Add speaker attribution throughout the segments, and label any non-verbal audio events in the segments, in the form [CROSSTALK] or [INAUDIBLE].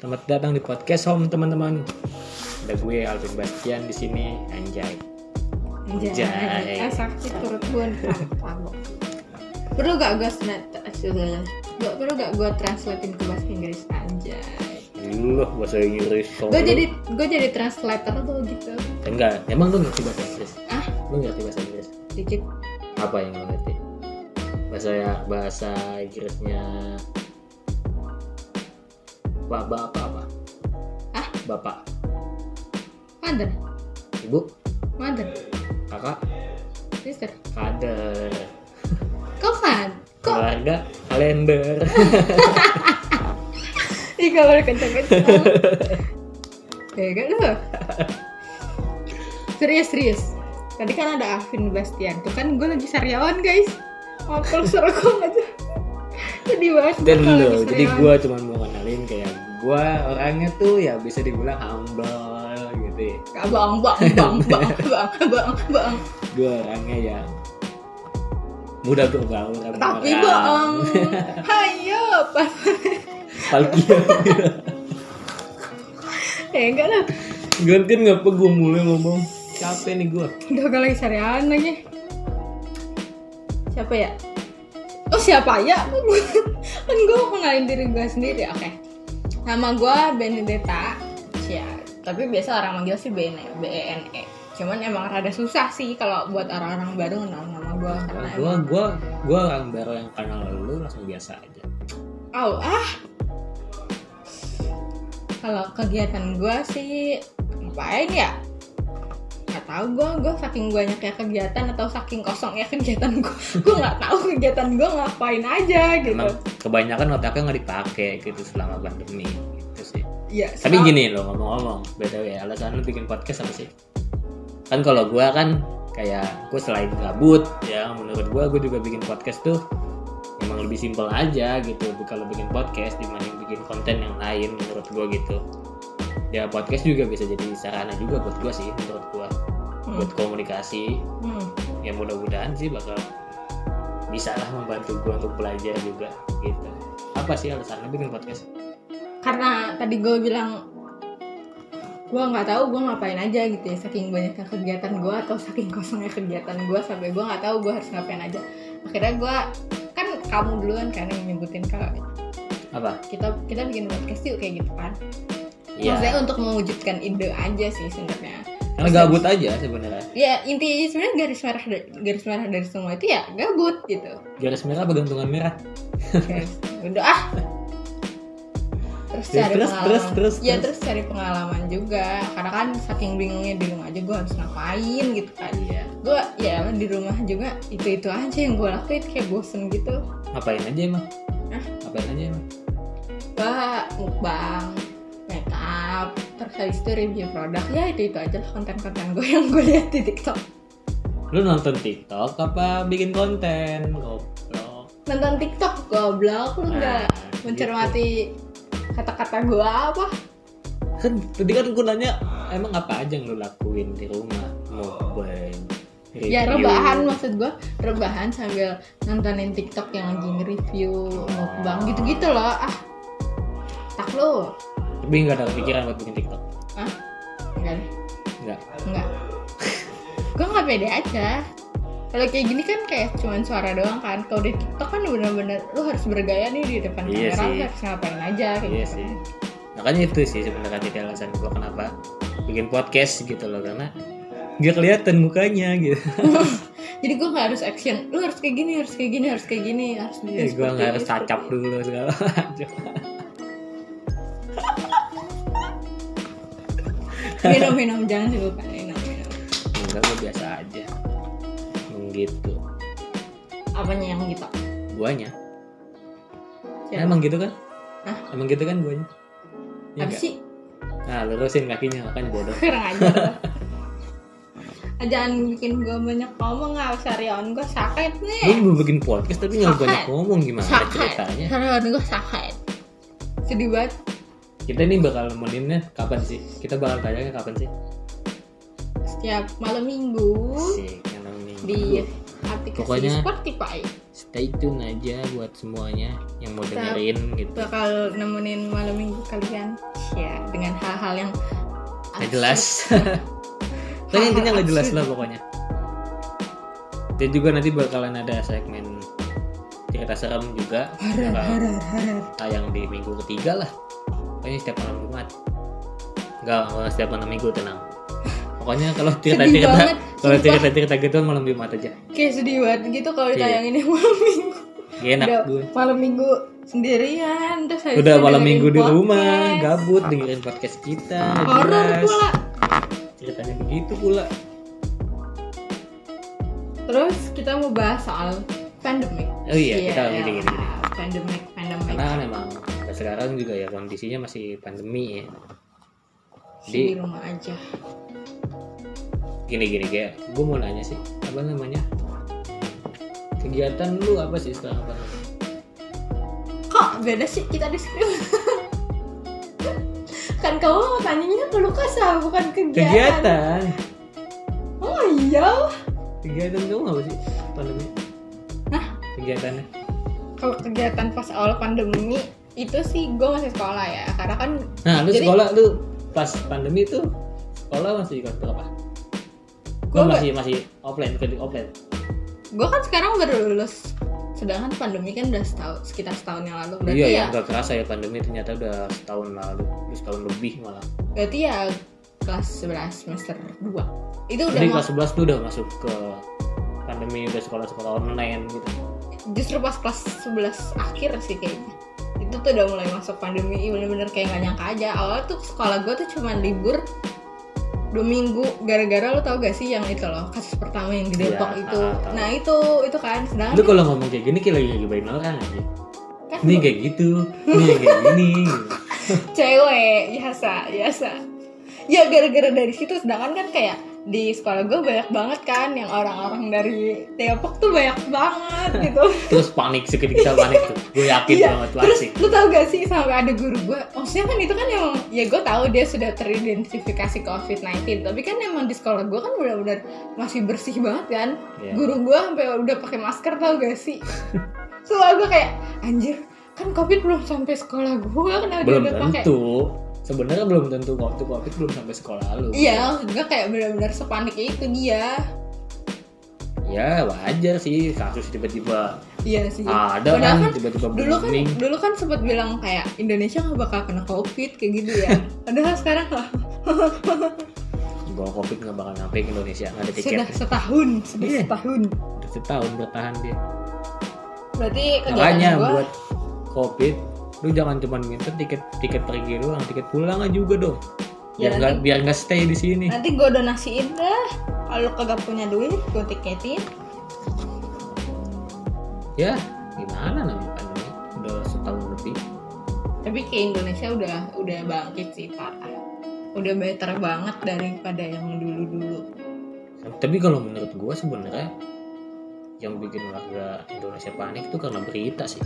Speaker 1: Selamat datang di podcast Home teman-teman. Ada gue Alvin Bastian di sini. Anjay.
Speaker 2: Anjay.
Speaker 1: Anjay.
Speaker 2: Ah, Iya. sakit perut gue nih, kamu. Perlu gak gue Gak perlu gak gue translatein ke bahasa Inggris anjay.
Speaker 1: Dulu lah bahasa Inggris. kalau
Speaker 2: Gue
Speaker 1: lu-
Speaker 2: jadi gue jadi translator tuh gitu.
Speaker 1: enggak. Emang lu ngerti bahasa Inggris?
Speaker 2: Ah.
Speaker 1: Lu ngerti bahasa Inggris?
Speaker 2: Dikit
Speaker 1: Apa yang lu ngerti? Bahasa ya bahasa Inggrisnya Bapak apa apa?
Speaker 2: Ah?
Speaker 1: Bapak,
Speaker 2: mother,
Speaker 1: Ibu,
Speaker 2: mother,
Speaker 1: Kakak,
Speaker 2: sister.
Speaker 1: Kader,
Speaker 2: Kok kan? Kok?
Speaker 1: keluarga, kalender.
Speaker 2: Ih gak boleh kenceng-kenceng. Tega Ya kan, lu. Serius serius. Tadi kan ada Alvin Bastian. Tuh kan gue lagi sariawan guys. Ngapel serokong aja. Sedih banget. gua
Speaker 1: dan
Speaker 2: kalau lagi
Speaker 1: lo jadi
Speaker 2: sariawan.
Speaker 1: gue cuma mau kenalin kayak gue orangnya tuh ya bisa dibilang humble gitu ya
Speaker 2: Abang, bang, bang, bang, bang, bang, bang.
Speaker 1: gue orangnya yang mudah bergaul sama
Speaker 2: Tapi
Speaker 1: orang.
Speaker 2: bohong. Hayo, pas.
Speaker 1: Palkia [LAUGHS]
Speaker 2: Eh, enggak lah.
Speaker 1: gantian ngapa gue mulai ngomong capek nih gue
Speaker 2: Udah gak lagi sariawan lagi. Siapa ya? Oh siapa ya? kan gue mau kenalin diri gue sendiri, oke. Nama gue Benedetta. Ya, tapi biasa orang manggil sih Bene, B E N E. Cuman emang rada susah sih kalau buat orang-orang baru kenal nama gue karena
Speaker 1: gue gue gue orang baru yang kenal lu langsung biasa aja
Speaker 2: Oh, ah. Kalau kegiatan gue sih ngapain ya? Gak tau gue, gue saking banyak ya kegiatan atau saking kosong ya kegiatan [LAUGHS] gue. Gue nggak tahu kegiatan gue ngapain aja gitu.
Speaker 1: emang kebanyakan otaknya nggak dipakai gitu selama pandemi gitu sih
Speaker 2: Ya,
Speaker 1: Tapi
Speaker 2: so-
Speaker 1: gini loh ngomong-ngomong, btw alasan lu bikin podcast apa sih? Kan kalau gua kan kayak gue selain gabut ya menurut gua gue juga bikin podcast tuh emang lebih simpel aja gitu kalau bikin podcast dibanding bikin konten yang lain menurut gua gitu ya podcast juga bisa jadi sarana juga buat gua sih menurut gua
Speaker 2: Hmm,
Speaker 1: buat komunikasi
Speaker 2: hmm.
Speaker 1: ya mudah-mudahan sih bakal bisa lah membantu gua untuk belajar juga gitu apa sih alasan lu bikin podcast
Speaker 2: Karena tadi gue bilang gue nggak tahu gue ngapain aja gitu ya saking banyaknya kegiatan gue atau saking kosongnya kegiatan gue sampai gue nggak tahu gue harus ngapain aja akhirnya gue kan kamu duluan kan yang nyebutin kalau
Speaker 1: apa
Speaker 2: kita kita bikin podcast yuk kayak gitu kan
Speaker 1: Iya.
Speaker 2: maksudnya untuk mewujudkan ide aja sih sebenarnya
Speaker 1: karena gabut aja sebenarnya
Speaker 2: ya intinya sebenarnya garis merah da- garis merah dari semua itu ya gabut gitu
Speaker 1: garis merah apa gantungan merah
Speaker 2: Guys, udah ah terus
Speaker 1: Ya,
Speaker 2: cari
Speaker 1: terus,
Speaker 2: pengalaman
Speaker 1: terus, terus,
Speaker 2: ya
Speaker 1: terus.
Speaker 2: terus cari pengalaman juga karena kan saking bingungnya di rumah aja gue harus ngapain gitu kan
Speaker 1: iya
Speaker 2: gue ya di rumah juga itu itu aja yang gue lakuin kayak bosen gitu
Speaker 1: ngapain aja emang
Speaker 2: Hah?
Speaker 1: ngapain aja emang
Speaker 2: gue mukbang make up terus habis itu review produk ya itu itu aja lah konten-konten gue yang gue lihat di tiktok
Speaker 1: lu nonton tiktok apa bikin konten goblok
Speaker 2: nonton tiktok goblok lu nggak
Speaker 1: Nah,
Speaker 2: mencermati kata-kata gue apa
Speaker 1: gitu. kan tadi kan gue nanya emang apa aja yang lu lakuin di rumah mobile Iya,
Speaker 2: ya rebahan maksud gue rebahan sambil nontonin tiktok yang lagi nge-review mukbang gitu-gitu loh ah tak lo
Speaker 1: tapi nggak ada pikiran buat bikin tiktok
Speaker 2: ah enggak deh
Speaker 1: nggak
Speaker 2: enggak [LAUGHS] gue nggak pede aja kalau kayak gini kan kayak cuman suara doang kan kalau di tiktok kan bener-bener lu harus bergaya nih di depan
Speaker 1: Iya
Speaker 2: kamera
Speaker 1: sih.
Speaker 2: lu harus ngapain aja kayak
Speaker 1: iya
Speaker 2: gitu.
Speaker 1: sih makanya itu sih sebenarnya jadi alasan gue kenapa bikin podcast gitu loh karena nggak kelihatan mukanya
Speaker 2: [LAUGHS]
Speaker 1: gitu
Speaker 2: jadi gue nggak harus action lu harus kayak gini harus kayak gini harus kayak gini harus
Speaker 1: ya, gue
Speaker 2: seperti
Speaker 1: nggak
Speaker 2: ini,
Speaker 1: harus
Speaker 2: seperti
Speaker 1: tacap
Speaker 2: ini.
Speaker 1: dulu segala macam [LAUGHS]
Speaker 2: minum minum jangan dilupakan minum minum
Speaker 1: enggak gue biasa aja gitu
Speaker 2: apanya yang gitu
Speaker 1: guanya
Speaker 2: Siapa?
Speaker 1: emang gitu kan
Speaker 2: Ya. Hah?
Speaker 1: emang gitu kan guanya Iya
Speaker 2: apa
Speaker 1: nggak?
Speaker 2: sih
Speaker 1: nah lurusin kakinya makanya bodoh
Speaker 2: kurang aja Ah, [LAUGHS] jangan bikin gue banyak ngomong ah, nggak sariawan gue sakit
Speaker 1: lu
Speaker 2: nih
Speaker 1: mau bikin podcast tapi nggak
Speaker 2: Sakit.
Speaker 1: banyak ngomong gimana
Speaker 2: sakit
Speaker 1: ceritanya
Speaker 2: sariawan gue sakit sedih banget
Speaker 1: kita ini bakal nemeninnya kapan sih kita bakal tayangnya kapan sih
Speaker 2: setiap malam minggu
Speaker 1: sih karena minggu.
Speaker 2: di aplikasi
Speaker 1: Pokoknya-
Speaker 2: Spotify
Speaker 1: stay tune aja buat semuanya yang mau dengerin gitu
Speaker 2: bakal nemenin malam minggu kalian hal yang
Speaker 1: nggak
Speaker 2: [LAUGHS]
Speaker 1: jelas tapi intinya nggak jelas lah pokoknya dan juga nanti bakalan ada segmen cerita serem juga
Speaker 2: Horor,
Speaker 1: bakal
Speaker 2: horor, horor.
Speaker 1: tayang di minggu ketiga lah pokoknya setiap malam jumat nggak nggak setiap malam minggu tenang pokoknya kalau cerita cerita
Speaker 2: banget,
Speaker 1: kalau
Speaker 2: sumpah.
Speaker 1: cerita cerita gitu malam jumat aja
Speaker 2: Kayak sedih banget gitu kalau
Speaker 1: Iya.
Speaker 2: ditayangin yang malam minggu.
Speaker 1: Gak enak
Speaker 2: Udah
Speaker 1: gue
Speaker 2: malam minggu sendirian terus habis
Speaker 1: udah
Speaker 2: itu
Speaker 1: malam
Speaker 2: dengerin
Speaker 1: minggu di
Speaker 2: podcast.
Speaker 1: rumah gabut dengerin podcast kita
Speaker 2: Horor
Speaker 1: jelas.
Speaker 2: pula.
Speaker 1: ceritanya begitu pula
Speaker 2: Terus kita mau bahas soal pandemic.
Speaker 1: Oh iya, kita
Speaker 2: Sialah,
Speaker 1: gini, gini, gini.
Speaker 2: Pandemic, pandemic.
Speaker 1: karena kan emang sampai sekarang juga ya kondisinya masih pandemi ya
Speaker 2: di
Speaker 1: jadi
Speaker 2: rumah aja.
Speaker 1: gini gini kayak gue mau nanya sih apa namanya kegiatan lu apa sih sekarang apa
Speaker 2: Kok beda sih kita di skrip? kan kamu tanyanya ke Lukas lah, bukan kegiatan.
Speaker 1: kegiatan
Speaker 2: Oh iya.
Speaker 1: kegiatan kamu apa sih pandemi
Speaker 2: Hah?
Speaker 1: kegiatannya
Speaker 2: Kalau kegiatan pas awal pandemi itu sih gue masih sekolah ya karena kan
Speaker 1: nah lu
Speaker 2: Jadi-
Speaker 1: sekolah lu pas pandemi tuh sekolah masih kelas berapa gue
Speaker 2: Gua
Speaker 1: masih masih offline ke offline
Speaker 2: gue kan sekarang baru lulus sedangkan pandemi kan udah setahun sekitar setahun yang lalu berarti
Speaker 1: iya ya
Speaker 2: ya
Speaker 1: nggak kerasa ya pandemi ternyata udah setahun lalu udah setahun lebih malah
Speaker 2: berarti ya kelas 11 semester 2 itu udah
Speaker 1: Jadi
Speaker 2: mau-
Speaker 1: kelas 11 tuh udah masuk ke pandemi udah sekolah-sekolah online gitu.
Speaker 2: justru pas kelas 11 akhir sih kayaknya itu tuh udah mulai masuk pandemi Ih, bener-bener kayak gak nyangka aja awalnya tuh sekolah gue tuh cuman libur dua minggu gara-gara lo tau gak sih yang itu loh kasus pertama yang di
Speaker 1: Iya,
Speaker 2: Depok itu
Speaker 1: ah, tahu.
Speaker 2: nah itu itu kan sedangkan
Speaker 1: Lu kalau ngomong kayak gini kayak lagi ngegibain orang aja.
Speaker 2: kan
Speaker 1: Nih kayak gitu, nih kayak gini. gitu.
Speaker 2: cewek biasa biasa ya gara-gara dari situ sedangkan kan kayak di sekolah gue banyak banget kan yang orang-orang dari Depok tuh banyak banget gitu
Speaker 1: Terus panik sedikit kita panik tuh. Gue yakin
Speaker 2: Iya,
Speaker 1: banget
Speaker 2: Terus
Speaker 1: pasti.
Speaker 2: lu tau gak sih sampai ada guru gue Maksudnya kan itu kan emang Ya gue tahu dia sudah teridentifikasi COVID-19 Tapi kan emang di sekolah gue kan benar-benar Masih bersih banget kan
Speaker 1: Iya.
Speaker 2: Guru gue sampai udah pakai masker tau gak sih
Speaker 1: [LAUGHS]
Speaker 2: Soalnya gue kayak Anjir kan COVID belum sampai sekolah gue Kenapa
Speaker 1: Belum
Speaker 2: dia udah pakai
Speaker 1: tentu. Sebenarnya belum tentu waktu Covid belum sampai sekolah lu.
Speaker 2: Iya maksud gue kayak benar-benar sepanik itu dia
Speaker 1: Ya wajar sih kasus tiba-tiba
Speaker 2: Iya sih
Speaker 1: ada
Speaker 2: Padahal
Speaker 1: kan
Speaker 2: kan
Speaker 1: tiba-tiba
Speaker 2: dulu kan
Speaker 1: booming.
Speaker 2: dulu kan sempat bilang kayak Indonesia nggak bakal kena covid kayak gitu ya
Speaker 1: [LAUGHS]
Speaker 2: padahal sekarang
Speaker 1: Bahwa Covid nggak bakal nyampe ke Indonesia nggak ada tiket.
Speaker 2: sudah setahun sudah
Speaker 1: Iya.
Speaker 2: setahun
Speaker 1: Udah setahun bertahan dia.
Speaker 2: berarti
Speaker 1: Makanya
Speaker 2: kegiatan gue
Speaker 1: buat covid lu jangan cuma minta tiket tiket pergi doang, tiket pulang aja juga dong. Biar
Speaker 2: Ya,
Speaker 1: nggak biar nggak stay di sini.
Speaker 2: nanti gue donasiin dah kalau lu kagak punya duit gue tiketin
Speaker 1: Ya gimana namanya pandemi udah setahun lebih.
Speaker 2: tapi kayak Indonesia udah udah bangkit sih parah udah better banget daripada yang dulu dulu
Speaker 1: Tapi kalau menurut gua sebenarnya yang bikin warga Indonesia panik tuh karena berita sih.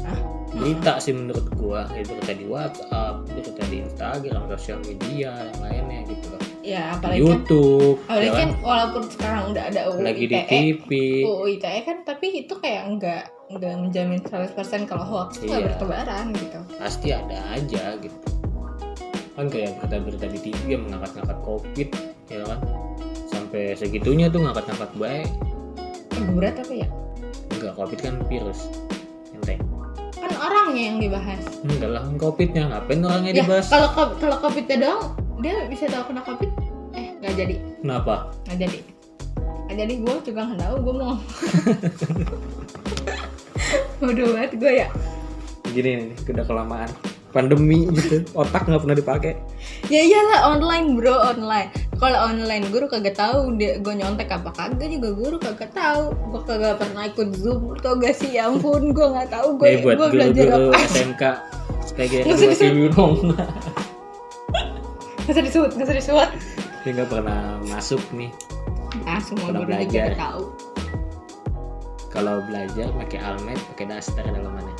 Speaker 2: Hah?
Speaker 1: Berita sih menurut gua, ya, berita di WhatsApp, berita di Instagram, sosial media, yang lainnya gitu loh.
Speaker 2: ya
Speaker 1: Di
Speaker 2: apalagi kan
Speaker 1: YouTube,
Speaker 2: apalagi
Speaker 1: ya
Speaker 2: kan
Speaker 1: kan?
Speaker 2: walaupun sekarang udah ada UU
Speaker 1: lagi di
Speaker 2: ITE,
Speaker 1: TV.
Speaker 2: UU ITE kan tapi itu kayak nggak nggak menjamin 100% kalau hoax tuh nggak
Speaker 1: Iya.
Speaker 2: bertebaran gitu
Speaker 1: pasti ada aja gitu kan kayak berita-berita di TV yang mengangkat-ngangkat covid ya kan sampai segitunya tuh ngangkat-ngangkat baik
Speaker 2: eh, berat apa ya
Speaker 1: enggak covid kan virus enteng
Speaker 2: kan orangnya yang dibahas
Speaker 1: enggak lah kan covidnya ngapain orangnya
Speaker 2: ya
Speaker 1: dibahas
Speaker 2: kalau ko- kalau covidnya doang dia bisa tahu kena covid eh nggak jadi
Speaker 1: kenapa
Speaker 2: nggak jadi nggak jadi gue juga nggak tahu gue mau ngomong. bodoh banget gue ya
Speaker 1: gini nih udah kelamaan pandemi gitu otak nggak pernah dipakai
Speaker 2: ya iyalah online bro online kalau online guru kagak tahu dia gue nyontek apa kagak juga guru kagak tahu gue kagak pernah ikut zoom Lu tau gak sih ya ampun gue nggak tahu gue
Speaker 1: Nih, Eh, buat
Speaker 2: gue belajar
Speaker 1: guru-guru
Speaker 2: apa
Speaker 1: SMK PGRI
Speaker 2: Nggak usah
Speaker 1: masih bingung
Speaker 2: nggak usah disuat nggak usah disuat
Speaker 1: [LAUGHS] dia nggak pernah masuk nih
Speaker 2: ah semua
Speaker 1: Pernah
Speaker 2: guru juga
Speaker 1: belajar.
Speaker 2: nggak tahu
Speaker 1: kalau belajar pakai almet pakai daster dalamannya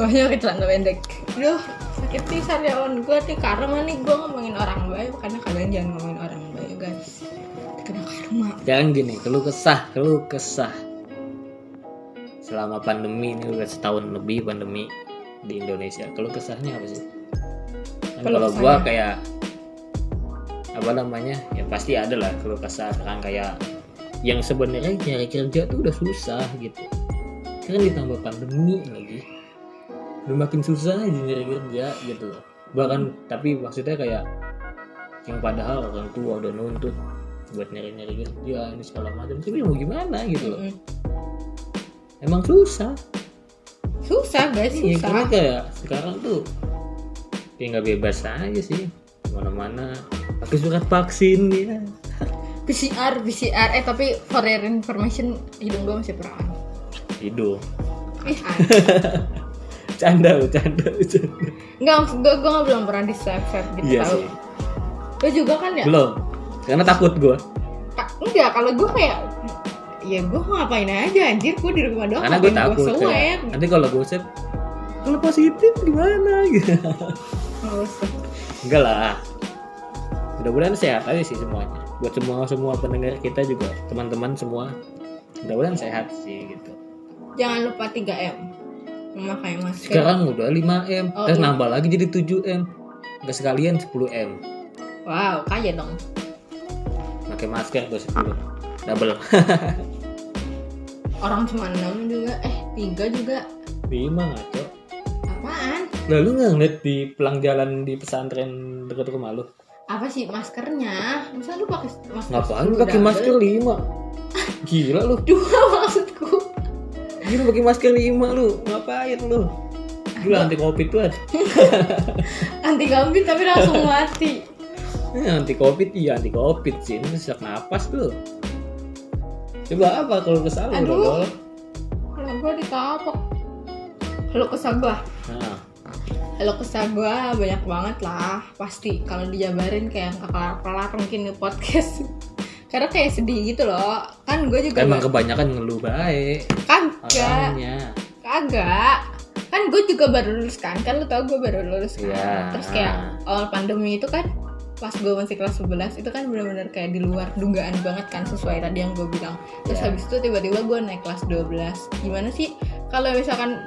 Speaker 2: Wahnya pakai celana pendek. Duh, sakit pisan ya on gue nih karma nih gue ngomongin orang baik karena kalian jangan ngomongin orang baik guys. Kena karma.
Speaker 1: Jangan gini, keluh kesah, keluh kesah. Selama pandemi ini udah setahun lebih pandemi di Indonesia, keluh kesahnya apa sih? Dan
Speaker 2: Keluh
Speaker 1: kalau gua
Speaker 2: kesahnya.
Speaker 1: kayak apa namanya ya pasti ada lah kalau kesah kan kayak yang sebenarnya nyari kerja tuh udah susah gitu kan ditambah pandemi lagi udah makin susah aja nyari kerja gitu loh bahkan tapi maksudnya kayak yang padahal orang tua udah nuntut buat nyari-nyari kerja ini segala macam tapi mau gimana gitu loh
Speaker 2: Mm-mm.
Speaker 1: emang susah
Speaker 2: susah guys
Speaker 1: Iya, karena
Speaker 2: susah
Speaker 1: kayak sekarang tuh kayak nggak bebas aja sih kemana-mana pakai surat vaksin ya
Speaker 2: PCR PCR eh tapi for your information hidung gua masih perawan
Speaker 1: hidung
Speaker 2: eh aneh.
Speaker 1: canda lu, canda lu, canda
Speaker 2: nggak maksud gua gua belum pernah di swab swab gitu
Speaker 1: iya
Speaker 2: tau
Speaker 1: sih
Speaker 2: lu juga kan ya
Speaker 1: belum karena takut gua
Speaker 2: Ka- enggak kalau gua kayak ya gua ngapain aja anjir gua di rumah doang
Speaker 1: karena gua
Speaker 2: ngapain
Speaker 1: takut
Speaker 2: ya,
Speaker 1: ya.
Speaker 2: gua
Speaker 1: kayak,
Speaker 2: swab
Speaker 1: nanti kalau gua swab kalau positif gimana gitu
Speaker 2: Nggak usah.
Speaker 1: enggak lah mudah-mudahan sehat aja sih semuanya buat semua semua pendengar kita juga teman-teman semua mudah-mudahan sehat sih gitu
Speaker 2: jangan lupa 3 m memakai masker
Speaker 1: sekarang udah 5M
Speaker 2: Iya. Oh,
Speaker 1: terus
Speaker 2: iya.
Speaker 1: nambah lagi jadi 7M enggak sekalian 10M
Speaker 2: wow kaya dong
Speaker 1: pakai masker tuh 10 double [LAUGHS]
Speaker 2: orang cuma 6 juga eh 3 juga
Speaker 1: 5 ngaco
Speaker 2: apaan
Speaker 1: lalu nggak ngeliat di pelang jalan di pesantren dekat rumah lu
Speaker 2: apa sih maskernya masa lu pakai masker
Speaker 1: ngapain lu
Speaker 2: 10
Speaker 1: pakai
Speaker 2: double?
Speaker 1: masker 5 gila lu
Speaker 2: dua [LAUGHS] maksudku
Speaker 1: gila pakai masker 5 lu ngapain lu gila anti covid tuh
Speaker 2: anti gambit tapi langsung mati
Speaker 1: Eh, anti covid iya anti covid sih ini sesak napas tuh coba apa kalau kesalahan
Speaker 2: Aduh.
Speaker 1: dodol
Speaker 2: kalau gua ditapok kalau kesabah
Speaker 1: nah
Speaker 2: kalau kesah gua banyak banget lah pasti kalau dijabarin kayak nggak kelar-kelar mungkin di podcast [LAUGHS] karena kayak sedih gitu loh kan gue juga kan,
Speaker 1: emang Ah, kebanyakan ngeluh baik
Speaker 2: kagak
Speaker 1: orangnya
Speaker 2: kagak kan gue juga baru lulus kan kan lu tau gue baru lulus kan
Speaker 1: Iya.
Speaker 2: terus kayak awal pandemi itu kan pas gue masih kelas 11 itu kan benar-benar kayak di luar dugaan banget kan sesuai tadi yang gue bilang terus
Speaker 1: Iya.
Speaker 2: habis itu tiba-tiba gue naik kelas 12 gimana sih kalau misalkan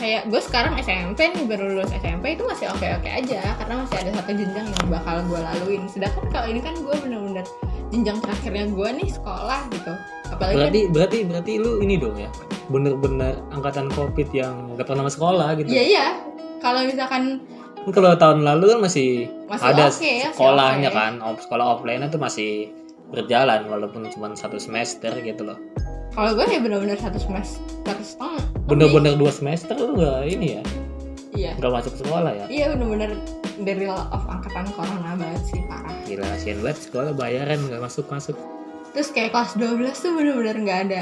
Speaker 2: kayak gue sekarang SMP nih baru lulus SMP itu masih oke oke aja karena masih ada satu jenjang yang bakal gue laluin sedangkan kalau ini kan gue bener-bener jenjang terakhirnya gue nih sekolah gitu apalagi kan-
Speaker 1: berarti berarti berarti lu ini dong ya bener-bener angkatan covid yang gak pernah sekolah gitu
Speaker 2: iya iya kalau misalkan
Speaker 1: Kan kalau tahun lalu kan masih,
Speaker 2: Masih
Speaker 1: ada
Speaker 2: oke, ya, masih
Speaker 1: sekolahnya
Speaker 2: oke. ya.
Speaker 1: kan op- sekolah offline itu masih berjalan walaupun cuma satu semester gitu loh
Speaker 2: Kalau gue ya bener-bener satu semester setengah.
Speaker 1: bener-bener dua semester lu gak ini ya
Speaker 2: Iya.
Speaker 1: gak masuk sekolah ya
Speaker 2: Iya bener-bener dari of angkatan corona banget sih parah.
Speaker 1: gila kasihan banget sekolah bayaran gak masuk-masuk
Speaker 2: Terus kayak kelas 12 tuh bener-bener nggak ada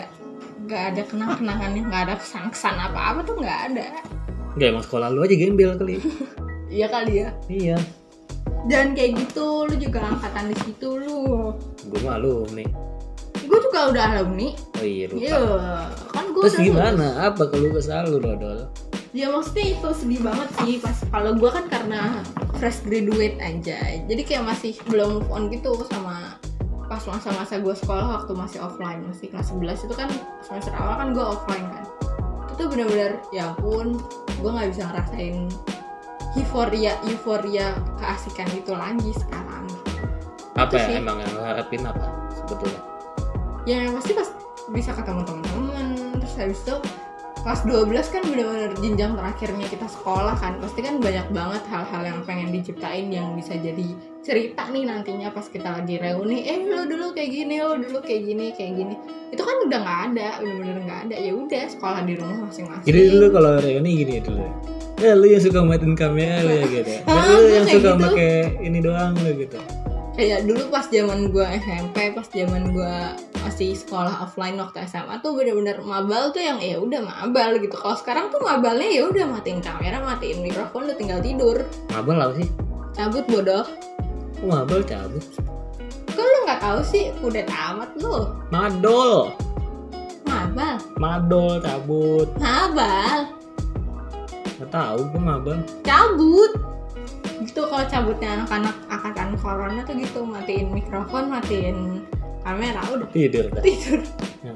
Speaker 2: nggak ada kenang-kenangannya, nggak ada kesan-kesan apa-apa tuh nggak ada.
Speaker 1: gak emang sekolah lu aja gembel
Speaker 2: [LAUGHS]
Speaker 1: kali
Speaker 2: Iya kali ya.
Speaker 1: iya
Speaker 2: Dan kayak gitu, lu juga angkatan di situ lu.
Speaker 1: gue malu nih
Speaker 2: Gue juga udah alumni.
Speaker 1: oh iya lupa
Speaker 2: Iya. Kan gue
Speaker 1: terus gimana apa kalau kesal lu dodol
Speaker 2: Ya maksudnya itu sedih banget sih pas kalau gue kan karena fresh graduate aja, jadi kayak masih belum move on gitu sama pas masa-masa gue sekolah waktu masih offline masih kelas 11 itu kan semester awal kan gue offline kan itu tuh bener-bener ya ampun gue nggak bisa ngerasain euforia euforia keasikan itu lagi sekarang
Speaker 1: apa
Speaker 2: sih.
Speaker 1: ya emang yang lu harapin apa sebetulnya
Speaker 2: ya yang pasti pas bisa ketemu teman-teman terus habis itu kelas 12 kan bener-bener jenjang terakhirnya kita sekolah kan pasti kan banyak banget hal-hal yang pengen diciptain yang bisa jadi cerita nih nantinya pas kita lagi reuni eh lo dulu kayak gini lo dulu kayak gini kayak gini itu kan udah nggak ada bener-bener nggak ada ya udah sekolah di rumah masing-masing
Speaker 1: Jadi dulu kalau reuni gini ya dulu. Ya lu yang suka matiin kamera lu ya
Speaker 2: [LAUGHS]
Speaker 1: gitu. Dan
Speaker 2: Ah,
Speaker 1: lu
Speaker 2: gua
Speaker 1: yang
Speaker 2: kayak
Speaker 1: suka
Speaker 2: gitu.
Speaker 1: pakai ini doang lu gitu.
Speaker 2: kayak Iya, dulu pas zaman gua SMP pas zaman gua masih sekolah offline waktu SMA tuh bener-bener mabal tuh yang ya udah mabal gitu kalau sekarang tuh mabalnya ya udah matiin kamera matiin mikrofon udah tinggal tidur
Speaker 1: Mabel apa sih?
Speaker 2: cabut bodoh
Speaker 1: Kok mabel cabut?
Speaker 2: kok lu nggak tahu sih udah tamat lu
Speaker 1: Madol.
Speaker 2: mabal
Speaker 1: Madol cabut.
Speaker 2: mabal
Speaker 1: Gak tahu gua mabel.
Speaker 2: cabut gitu kalau cabutnya anak-anak angkatan corona tuh gitu matiin mikrofon matiin kamera udah
Speaker 1: Tidur dah.
Speaker 2: tidur [LAUGHS]
Speaker 1: Nah.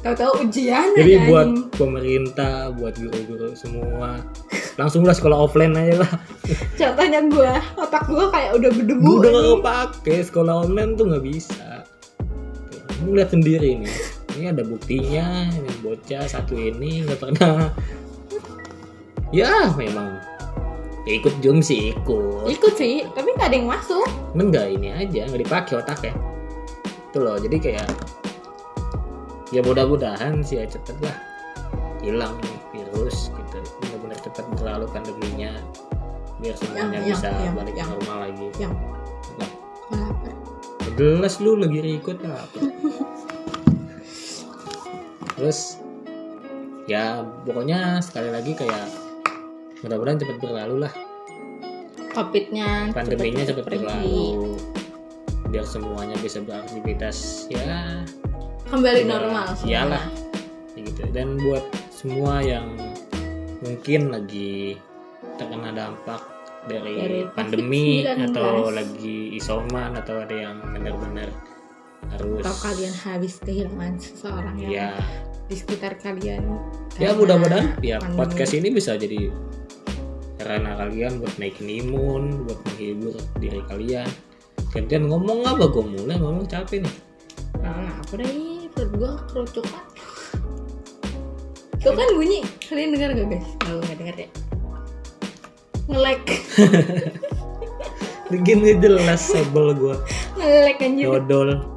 Speaker 2: tahu-tahu ujian
Speaker 1: Jadi
Speaker 2: aja,
Speaker 1: buat
Speaker 2: anjing.
Speaker 1: pemerintah, buat guru-guru semua langsung lah sekolah offline aja lah
Speaker 2: Contohnya gue, otak gue kayak udah berdebu.
Speaker 1: gue udah
Speaker 2: ini.
Speaker 1: gak kepake sekolah online tuh nggak bisa Tuh, kamu lihat sendiri nih ini ada buktinya ini bocah satu ini nggak pernah ya memang Ya, ikut zoom sih ikut
Speaker 2: Ikut sih, tapi nggak ada yang masuk.
Speaker 1: cuman nggak ini aja nggak dipakai otaknya itu loh jadi kayak ya mudah-mudahan sih ya cepet lah hilang virus gitu benar-benar cepet terlalu pandeminya biar semuanya
Speaker 2: Yang, yang,
Speaker 1: bisa
Speaker 2: yang,
Speaker 1: balik
Speaker 2: yang.
Speaker 1: normal lagi
Speaker 2: Yang.
Speaker 1: Apa?
Speaker 2: Kenapa?
Speaker 1: Jelas lu lagi record apa? Terus ya pokoknya sekali lagi kayak mudah-mudahan cepat berlalu lah
Speaker 2: Covidnya
Speaker 1: pandeminya cepat
Speaker 2: pergi.
Speaker 1: berlalu biar semuanya bisa beraktivitas ya
Speaker 2: Kembali
Speaker 1: Iya.
Speaker 2: normal. semuanya.
Speaker 1: Iyalah. kayak gitu dan buat semua yang mungkin lagi terkena dampak
Speaker 2: Dari
Speaker 1: dari pandemi
Speaker 2: COVID-19.
Speaker 1: atau lagi isoman atau ada yang benar-benar harus
Speaker 2: Atau kalian habis kehilangan seseorang yang
Speaker 1: ya
Speaker 2: di sekitar kalian.
Speaker 1: ya
Speaker 2: Karena
Speaker 1: mudah-mudahan ya
Speaker 2: pandemi.
Speaker 1: podcast ini bisa jadi karena kalian buat naikin imun buat menghibur diri kalian gantian ngomong apa gue mulai ngomong capek nih
Speaker 2: Nah, apa deh? Perut gue kerucukan. Tuh kan bunyi. Kalian dengar gak guys? Kalau nggak dengar ya. [LAUGHS] Ngelek,
Speaker 1: bikin nggak jelas sebel gue
Speaker 2: ngelek anjir.
Speaker 1: dodol